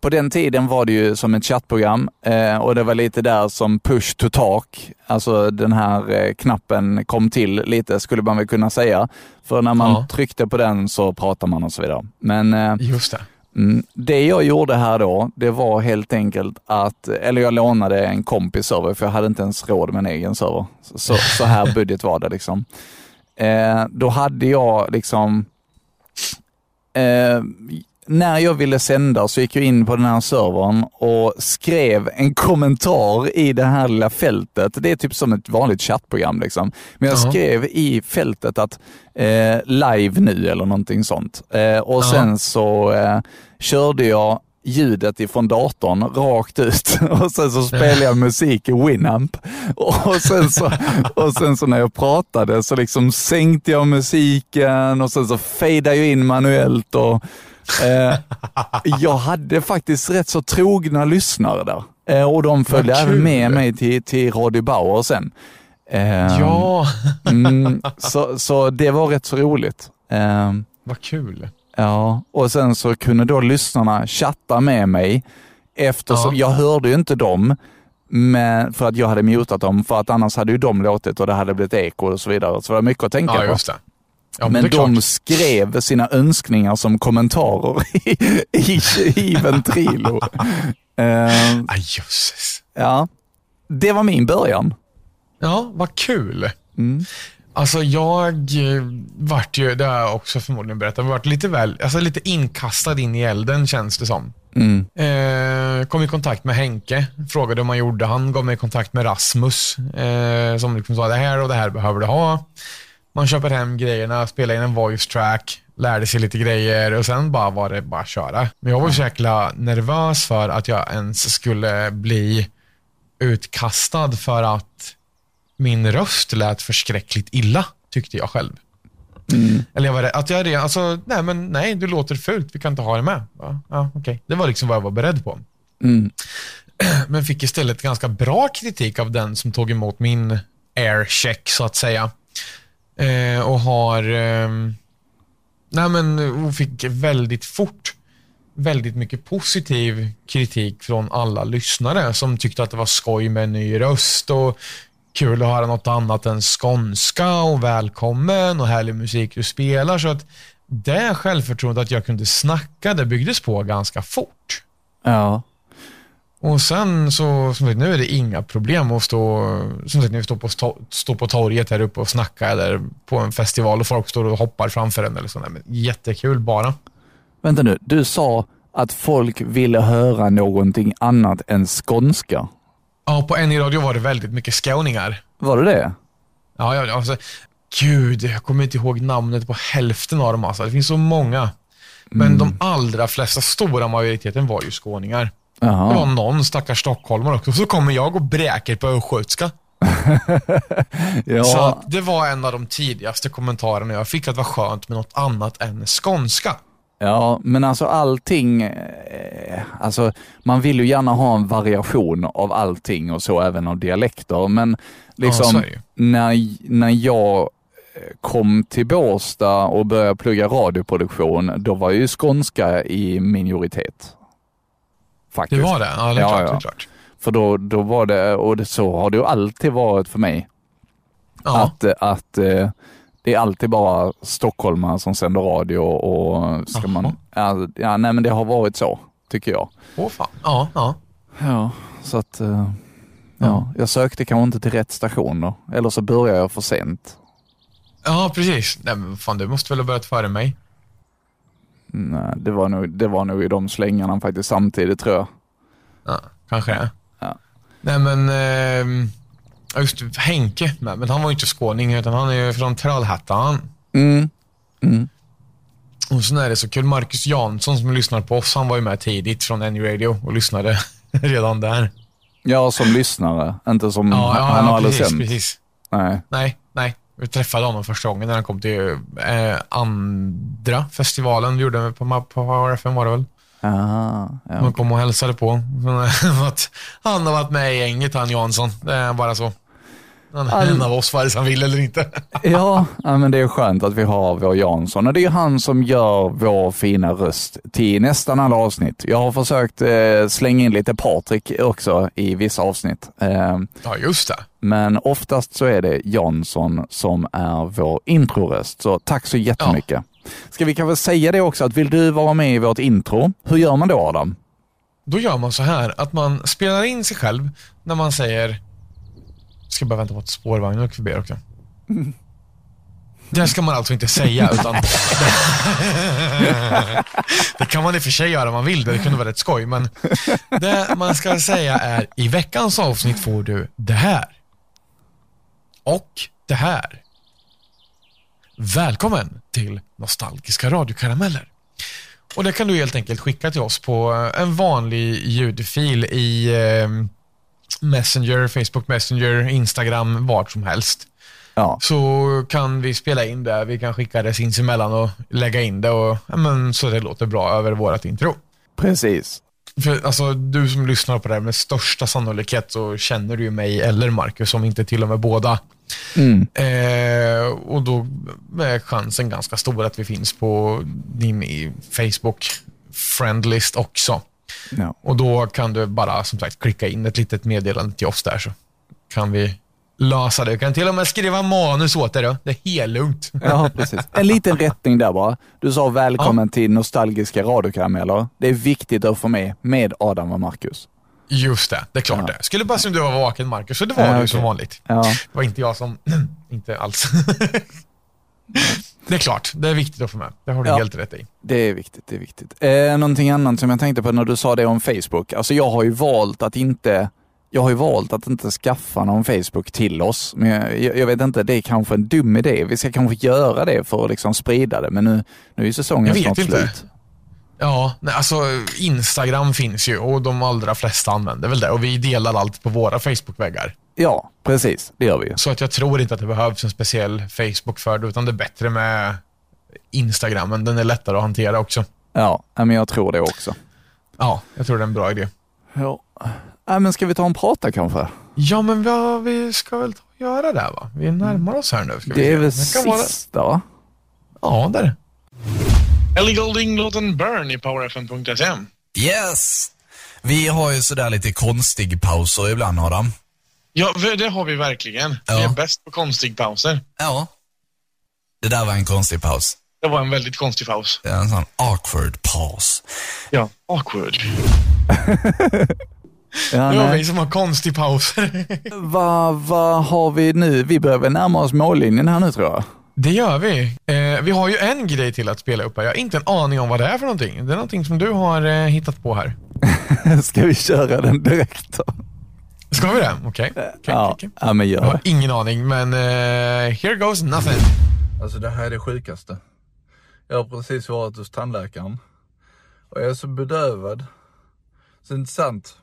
Speaker 3: På den tiden var det ju som ett chattprogram eh, och det var lite där som push to talk, alltså den här eh, knappen kom till lite skulle man väl kunna säga. För när man
Speaker 2: Ja.
Speaker 3: tryckte på den så pratade man och så vidare. Men eh,
Speaker 2: just det.
Speaker 3: Mm. Det jag gjorde här då, det var helt enkelt att, eller jag lånade en kompis server för jag hade inte ens råd med en egen server. Så, så här budget var det liksom. Eh, då hade jag liksom, eh, när jag ville sända så gick jag in på den här servern och skrev en kommentar i det här lilla fältet. Det är typ som ett vanligt chattprogram liksom. Men jag
Speaker 2: Ja.
Speaker 3: skrev i fältet att eh, live nu eller någonting sånt. Eh, och
Speaker 2: Ja.
Speaker 3: sen så eh, körde jag ljudet ifrån datorn rakt ut och sen så spelade jag musik i Winamp. Och sen, så, och sen så när jag pratade så liksom sänkte jag musiken och sen så fejdade jag in manuellt. Och, eh, jag hade faktiskt rätt så trogna lyssnare där. Eh, och de följde
Speaker 2: Vad
Speaker 3: även
Speaker 2: kul.
Speaker 3: med mig till, till Radio Bauer sen. Eh,
Speaker 2: Ja,
Speaker 3: Mm, så, så det var rätt så roligt. Ehm,
Speaker 2: vad kul.
Speaker 3: ja, och sen så kunde då lyssnarna chatta med mig eftersom
Speaker 2: Ja.
Speaker 3: jag hörde ju inte dem men, för att jag hade mutat dem för att annars hade ju de låtit och det hade blivit eko och så vidare. Så det var mycket att tänka
Speaker 2: Ja,
Speaker 3: på.
Speaker 2: just det. Ja,
Speaker 3: Men
Speaker 2: det är
Speaker 3: de
Speaker 2: klart.
Speaker 3: skrev sina önskningar som kommentarer i, i, i Ventrilo. Ehm,
Speaker 2: Ah, jösses.
Speaker 3: ja, det var min början.
Speaker 2: Ja, vad kul.
Speaker 3: Mm.
Speaker 2: Alltså jag eh, vart ju, det har jag också förmodligen berättat, men vart lite väl, alltså lite inkastad in i elden känns det som.
Speaker 3: Mm.
Speaker 2: Eh, kom i kontakt med Henke, frågade om han gjorde. Han gav mig i kontakt med Rasmus eh, som liksom sa det här och det här behöver du ha. Man köper hem grejerna, spelar in en voice track, lärde sig lite grejer och sen bara var det bara att köra. Men jag var så jäkla nervös för att jag ens skulle bli utkastad för att min röst lät förskräckligt illa, tyckte jag själv. Eller jag var rädd, att jag redan, alltså, nej men nej, du låter fult, vi kan inte ha det med. Ja, ja, okej. Det var liksom vad jag var beredd på.
Speaker 3: Mm.
Speaker 2: Men fick istället ganska bra kritik av den som tog emot min aircheck, så att säga. Eh, och har, ehm, nej men, och fick väldigt fort väldigt mycket positiv kritik från alla lyssnare som tyckte att det var skoj med en ny röst och kul att höra något annat än skånska och välkommen och härlig musik du spelar. Så att det självförtroendet att jag kunde snacka, det byggdes på ganska fort.
Speaker 3: Ja.
Speaker 2: Och sen så, som sagt, nu är det inga problem att stå, som sagt, nu stå på, sto- stå på torget här uppe och snacka eller på en festival och folk står och hoppar framför en eller så. Nej, men jättekul bara.
Speaker 3: Vänta nu, du sa att folk ville höra någonting annat än skånska.
Speaker 2: Ja, på NI Radio var det väldigt mycket skåningar.
Speaker 3: Var det det?
Speaker 2: Ja, ja, alltså, gud, jag kommer inte ihåg namnet på hälften av dem. Alltså. Det finns så många. Men de allra flesta, stora majoriteten var ju skåningar. Det var
Speaker 3: Jaha.
Speaker 2: någon stackars stockholmare också. Så kommer jag och bräker på östgötska. Så
Speaker 3: Ja,
Speaker 2: att det var en av de tidigaste kommentarerna jag fick, att det var skönt med något annat än skånska.
Speaker 3: ja, men alltså allting, eh, alltså man vill ju gärna ha en variation av allting och så även av dialekter. Men
Speaker 2: så
Speaker 3: liksom
Speaker 2: är det ju.
Speaker 3: när, när jag eh, kom till Båstad och började plugga radioproduktion, då var ju skånska i minoritet.
Speaker 2: Det
Speaker 3: Faktiskt.
Speaker 2: var det? Ja, det är klart.
Speaker 3: Ja, ja.
Speaker 2: Det är klart.
Speaker 3: För då, då var det, och det, så har det ju alltid varit för mig.
Speaker 2: Ja.
Speaker 3: Att, att eh, det är alltid bara stockholmare som sänder radio och ska man... Ja, ja, nej men det har varit så, tycker jag.
Speaker 2: Åh fan. Ja, ja.
Speaker 3: Ja, så att... eh, ja, jag sökte kanske inte till rätt station då. Eller så började jag för sent.
Speaker 2: ja, precis. Nej, men fan, du måste väl ha börjat före mig?
Speaker 3: Nej, det var nog, det var nog i de slängarna faktiskt samtidigt tror jag.
Speaker 2: Ja, kanske det.
Speaker 3: Ja.
Speaker 2: Nej, men... ehm, Ja, just det, Henke med, men han var ju inte skåning utan han är ju från Trollhättan.
Speaker 3: Mm.
Speaker 2: Och sen är det så kul, Marcus Jansson som lyssnar på oss, han var ju med tidigt från N-radio och lyssnade redan där.
Speaker 3: Ja, som lyssnare. Inte som Mm. han har aldrig
Speaker 2: precis,
Speaker 3: sänt.
Speaker 2: precis.
Speaker 3: Nej.
Speaker 2: Nej, nej. Vi träffade honom första gången när han kom till eh, andra festivalen vi gjorde på, Ma- på RFM var det väl.
Speaker 3: Aha, ja.
Speaker 2: Man kom och hälsade på. att han har varit med i gänget, han Jansson. Det är bara så. Han är en av oss vare sig han vill eller inte.
Speaker 3: Ja, ja, men det är skönt att vi har vår Jansson. Och det är ju han som gör vår fina röst till nästan alla avsnitt. Jag har försökt eh, slänga in lite Patrik också i vissa avsnitt. Eh,
Speaker 2: Ja, just det.
Speaker 3: men oftast så är det Jansson som är vår introröst. Så tack så jättemycket. Ska vi kanske säga det också, att vill du vara med i vårt intro, hur gör man då Adam?
Speaker 2: Då gör man så här att man spelar in sig själv när man säger... Ska bara vänta på att spårvagnen åker förbi också. Det ska man alltså inte säga utan... det kan man i och för sig göra om man vill det, det kunde vara rätt skoj men det man ska säga är i veckans avsnitt får du det här. Och det här. Välkommen till Nostalgiska radiokarameller. Och det kan du helt enkelt skicka till oss på eh, en vanlig ljudfil i eh, Messenger, Facebook Messenger, Instagram, vart som helst.
Speaker 3: Ja,
Speaker 2: Så kan vi spela in det, vi kan skicka det sinsemellan och lägga in det och, ja, men, så det låter bra över vårt intro.
Speaker 3: precis.
Speaker 2: För, alltså, du som lyssnar på det här med största sannolikhet så känner du ju mig eller Marcus, om inte till och med båda.
Speaker 3: Mm.
Speaker 2: Eh, och då är chansen ganska stor att vi finns på din i Facebook friendlist också.
Speaker 3: Ja.
Speaker 2: Och då kan du bara som sagt klicka in ett litet meddelande till oss där så kan vi lösa det. Du kan till och med skriva manus åt det då. Det är helt lugnt.
Speaker 3: Ja, precis. En liten rättning där bara. Du sa välkommen till nostalgiska radiokarameller. Det är viktigt att få med, med Adam och Marcus.
Speaker 2: Just det, det är klart det. Skulle bara se om du var vaken Marcus, så det var
Speaker 3: Ja,
Speaker 2: du ju
Speaker 3: okej.
Speaker 2: som vanligt.
Speaker 3: Ja.
Speaker 2: Det var inte jag som... inte alls. det är klart, det är viktigt att få med. Det har du
Speaker 3: Ja.
Speaker 2: helt rätt i.
Speaker 3: Det är viktigt. det är viktigt. Eh, någonting annat som jag tänkte på när du sa det om Facebook. Alltså jag har ju valt att inte jag har ju valt att inte skaffa någon Facebook till oss, men jag, jag, jag vet inte, det är kanske en dum idé. Vi ska kanske göra det för att liksom sprida det, men nu, nu är ju säsongen
Speaker 2: Jag vet
Speaker 3: snart
Speaker 2: inte.
Speaker 3: slut.
Speaker 2: Ja, nej, alltså Instagram finns ju och de allra flesta använder väl det. Och vi delar allt på våra Facebook-väggar.
Speaker 3: Ja, precis. Det gör vi ju.
Speaker 2: Så att jag tror inte att det behövs en speciell Facebook för det, utan det är bättre med Instagramen. Den är lättare att hantera också.
Speaker 3: Ja, ja, men jag tror det också.
Speaker 2: Ja, jag tror det är en bra idé.
Speaker 3: Ja. Ja, men ska vi ta en prata kanske?
Speaker 2: Ja, men vad, vi ska väl ta och göra det här, va? Vi närmar oss här nu. Ska vi
Speaker 3: Det
Speaker 2: se.
Speaker 3: är väl
Speaker 2: kan vara-
Speaker 3: sista, va?
Speaker 2: Ja, där. Ellie Golding, Låt en burn i powerfm.se.
Speaker 4: Yes! Vi har ju sådär lite konstig pauser ibland Adam.
Speaker 2: Ja, det har vi verkligen. Vi
Speaker 4: Ja.
Speaker 2: är bäst på konstigpauser.
Speaker 4: Ja. Det där var en konstig paus.
Speaker 2: Det var en väldigt konstig paus.
Speaker 4: Det är en sån awkward paus.
Speaker 2: Ja. Awkward.
Speaker 3: Ja,
Speaker 2: Det var
Speaker 3: nej.
Speaker 2: vi som har konstig pauser.
Speaker 3: Vad vad har vi nu? Vi börjar väl närma oss mållinjen här nu tror jag.
Speaker 2: Det gör vi. Eh, vi har ju en grej till att spela upp här. Jag har inte en aning om vad det är för någonting. Det är någonting som du har eh, hittat på här.
Speaker 3: Ska vi köra den direkt då?
Speaker 2: Ska vi det? Okej. Okay.
Speaker 3: ja. ja, men gör
Speaker 2: Jag har
Speaker 3: det.
Speaker 2: ingen aning, men eh, here goes nothing.
Speaker 9: Alltså det här är det sjukaste. Jag har precis varit hos tandläkaren. Och jag är så bedövad. Så det är inte sant.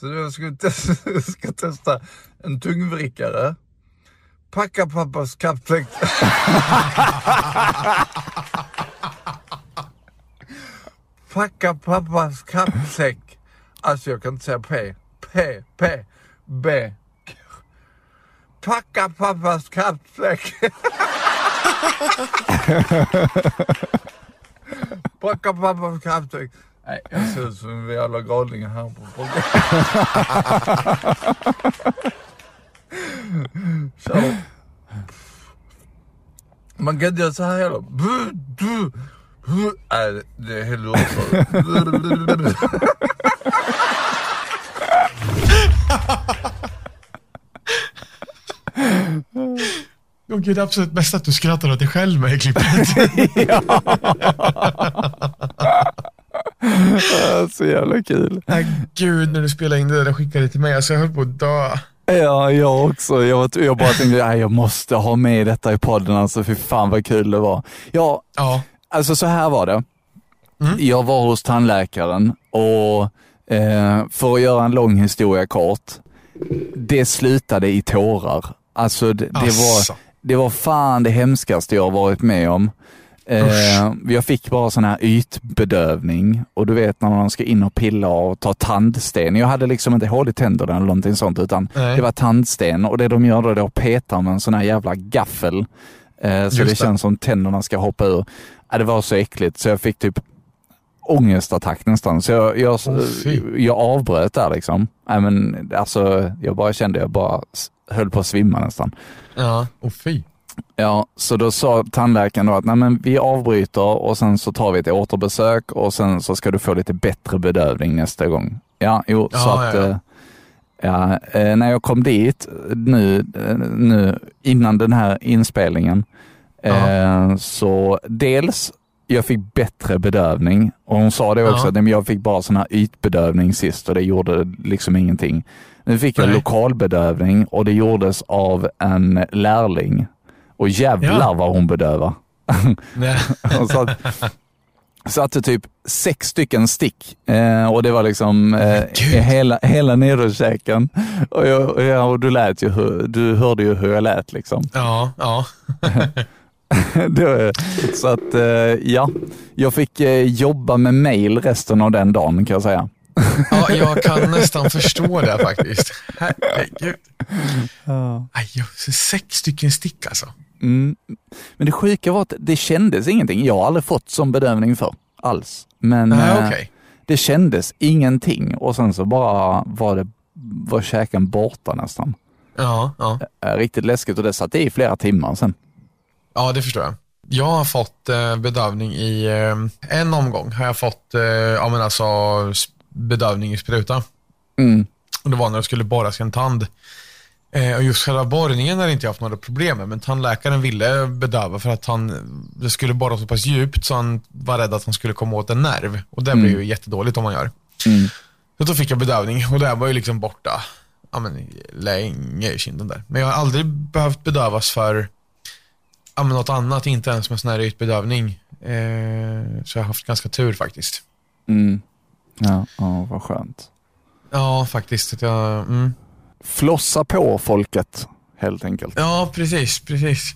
Speaker 9: Så jag ska, tes- jag ska testa en tungvrickare. Packa pappas kappfläkt. Packa pappas kappsäck. Alltså jag kan inte säga P. P, P, B. Packa pappas kappsäck. Packa pappas kappsäck. Nej, jag ser ut som en jävla galning här på podden. Så. Man kan inte göra så här heller. Bu, du, hu. Nej, det- det är helt oavsvarigt.
Speaker 2: Åh gud, det är absolut bäst att du skrattar åt dig själv med i klippet.
Speaker 3: Så jävla kul.
Speaker 2: Nej, gud, när du spelade in det där och skickade det till mig, alltså jag höll på att dö.
Speaker 3: Ja, jag också. Jag, var, jag bara tänkte att jag måste ha med detta i podden. Alltså, fy fan vad kul det var. Ja,
Speaker 2: Ja.
Speaker 3: Alltså så här var det.
Speaker 2: Mm.
Speaker 3: Jag var hos tandläkaren och eh, för att göra en lång historia kort. Det slutade i tårar. Alltså det, det,
Speaker 2: Asså.
Speaker 3: var, det var fan det hemskaste jag har varit med om. Eh, jag fick bara sån här ytbedövning och du vet när man ska in och pilla och ta tandsten. Jag hade liksom inte hål i tänderna eller någonting sånt utan
Speaker 2: Nej.
Speaker 3: det var tandsten och det de gör då är att peta med en sån här jävla gaffel. Eh, så
Speaker 2: Just
Speaker 3: det
Speaker 2: det.
Speaker 3: känns som tänderna ska hoppa ur. Ja, det var så äckligt så jag fick typ ångestattack nästan. Så jag, jag,
Speaker 2: fy.
Speaker 3: jag avbröt där liksom. Nej, men, alltså, jag bara kände, jag bara s- höll på att svimma nästan.
Speaker 2: Ja. Åh fy.
Speaker 3: Ja, så då sa tandläkaren då att Nej, men vi avbryter och sen så tar vi ett återbesök och sen så ska du få lite bättre bedövning nästa gång. Ja, jo, så
Speaker 2: Ja,
Speaker 3: att...
Speaker 2: ja, ja.
Speaker 3: eh, Ja, eh, när jag kom dit nu, eh, nu innan den här inspelningen eh, så dels jag fick bättre bedövning och hon sa det också
Speaker 2: Ja.
Speaker 3: att "Nej, men jag fick bara sån här ytbedövning sist och det gjorde liksom ingenting. Nu fick jag
Speaker 2: Nej.
Speaker 3: lokalbedövning och det gjordes av en lärling och jävlar
Speaker 2: Ja.
Speaker 3: vad hon bedövar.
Speaker 2: Nej.
Speaker 3: Hon satt, satte typ sex stycken stick eh, och det var liksom eh, hela, hela nederkäken. Och, jag, och, jag, och du, lät ju hur, du hörde ju hur jag lät liksom.
Speaker 2: Ja, ja.
Speaker 3: Det- Så att eh, ja, jag fick eh, jobba med mail resten av den dagen kan jag säga.
Speaker 2: ja. Jag kan nästan förstå det faktiskt. Herregud. Aj, jösses, sex stycken stick alltså.
Speaker 3: Mm. Men det sjuka var att det kändes ingenting. Jag har aldrig fått sån bedövning för alls. Men
Speaker 2: Nej,
Speaker 3: eh,
Speaker 2: Ah, okej.
Speaker 3: det kändes ingenting och sen så bara var, det, var käken borta nästan.
Speaker 2: Ja, ja.
Speaker 3: Eh, Riktigt läskigt och det satt i flera timmar sen.
Speaker 2: Ja, det förstår jag. Jag har fått eh, bedövning i eh, en omgång. har jag fått eh, ja, men alltså, s- bedövning i spruta.
Speaker 3: Mm.
Speaker 2: Och Det var när jag skulle borras i en tand. Eh, och just själva borrningen har inte jag haft några problem med, men tandläkaren ville bedöva för att han det skulle borra så pass djupt så han var rädd att han skulle komma åt en nerv. Och det blir ju jättedåligt om man gör.
Speaker 3: Mm.
Speaker 2: Så då fick jag bedövning och det här var ju liksom borta ja, men, länge i kinden där. Men jag har aldrig behövt bedövas för ja, men något annat, inte ens med sån här ytbedövning. Eh, så jag har haft ganska tur faktiskt.
Speaker 3: Mm. Ja, ja, vad skönt.
Speaker 2: Ja, faktiskt. Att jag, mm.
Speaker 3: Flossa på folket helt enkelt.
Speaker 2: Ja, precis, precis.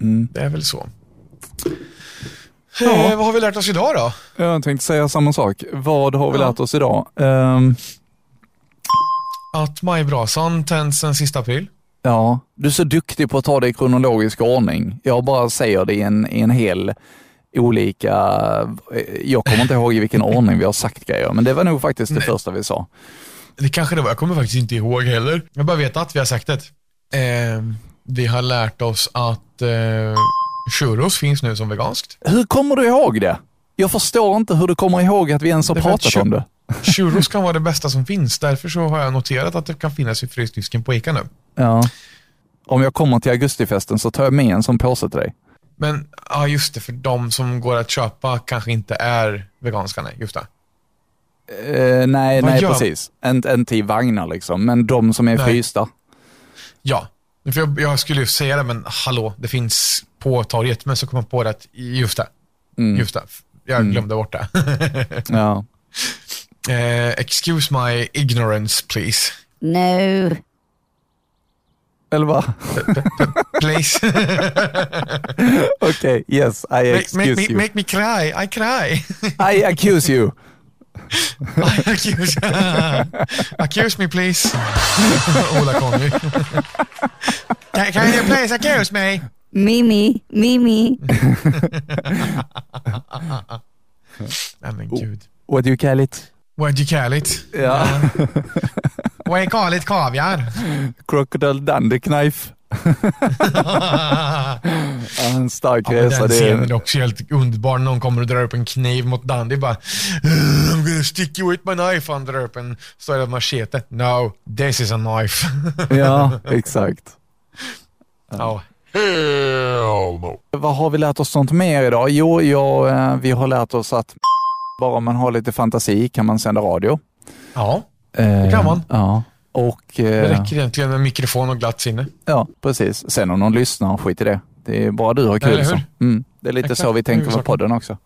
Speaker 3: Mm.
Speaker 2: Det är väl så. Eh, vad har vi lärt oss idag då?
Speaker 3: Jag tänkte säga samma sak. Vad har vi
Speaker 2: Ja.
Speaker 3: lärt oss idag? Ehm,
Speaker 2: Att majbrasan tänds den sista april.
Speaker 3: Ja, du är så duktig på att ta det i kronologisk ordning. Jag bara säger det i en, i en hel olika... eh, Jag kommer inte ihåg i vilken ordning vi har sagt grejer, men det var nog faktiskt det första vi sa.
Speaker 2: Det kanske det var. Jag kommer faktiskt inte ihåg heller. Jag bara vet att vi har sagt det. Eh, vi har lärt oss att eh, churros finns nu som veganskt.
Speaker 3: Hur kommer du ihåg det? Jag förstår inte hur du kommer ihåg att vi ens har
Speaker 2: Därför att
Speaker 3: pratat om
Speaker 2: kö-
Speaker 3: det.
Speaker 2: Churros kan vara det bästa som finns. Därför så har jag noterat att det kan finnas i frysdisken på Ica nu.
Speaker 3: Ja. Om jag kommer till augustifesten så tar jag med en sån påse till dig.
Speaker 2: Men ja, just det. För de som går att köpa kanske inte är veganska. Nej, just det.
Speaker 3: Eh, nej,
Speaker 2: Vad
Speaker 3: nej
Speaker 2: gör-
Speaker 3: precis. En- Inte i vagnar liksom, men de som är
Speaker 2: Nej.
Speaker 3: frysta.
Speaker 2: Ja, för jag, jag skulle ju säga det, men hallå, det finns på torget. Men så kom jag på det att, just det,
Speaker 3: Mm.
Speaker 2: just det. Jag glömde bort det.
Speaker 3: Ja.
Speaker 2: eh, excuse my ignorance please.
Speaker 10: No.
Speaker 3: Eller va?
Speaker 2: Please.
Speaker 3: Okej, yes, I
Speaker 2: make, make,
Speaker 3: excuse
Speaker 2: me,
Speaker 3: you.
Speaker 2: make me cry, I cry.
Speaker 3: I accuse you.
Speaker 2: I accuse, accuse me please. Ola Conny. Can- Can you please accuse me?
Speaker 10: Mimi, Mimi.
Speaker 2: Nej men gud.
Speaker 3: What do you call it?
Speaker 2: What you call it?
Speaker 3: Oh. Ja.
Speaker 2: What you call it kaviar?
Speaker 3: Crocodile Dundee Knife. Ja, en stark
Speaker 2: Ja, men
Speaker 3: resa.
Speaker 2: den
Speaker 3: Det
Speaker 2: scenen är
Speaker 3: är...
Speaker 2: också helt underbar. Någon kommer och drar upp en kniv mot Dandy bara "Eh, I'm gonna stick you with my knife. Han drar upp en stor machete. No, this is a knife.
Speaker 3: Ja, exakt.
Speaker 2: ja.
Speaker 8: Hell no.
Speaker 3: Vad har vi lärt oss sånt mer idag? Jo, jag, eh, vi har lärt oss att bara om man har lite fantasi kan man sända radio.
Speaker 2: ja,
Speaker 3: Det
Speaker 2: kan man.
Speaker 3: Ja. Och,
Speaker 2: Det
Speaker 3: eh,
Speaker 2: räcker egentligen med mikrofon och glatt sinne.
Speaker 3: ja, precis. Sen om någon lyssnar, skit i det. Det är bara du har kul.
Speaker 2: Eller hur?
Speaker 3: så. Mm. Det är lite
Speaker 2: Exakt.
Speaker 3: så vi
Speaker 2: Det
Speaker 3: tänker
Speaker 2: är
Speaker 3: med
Speaker 2: klart.
Speaker 3: podden också.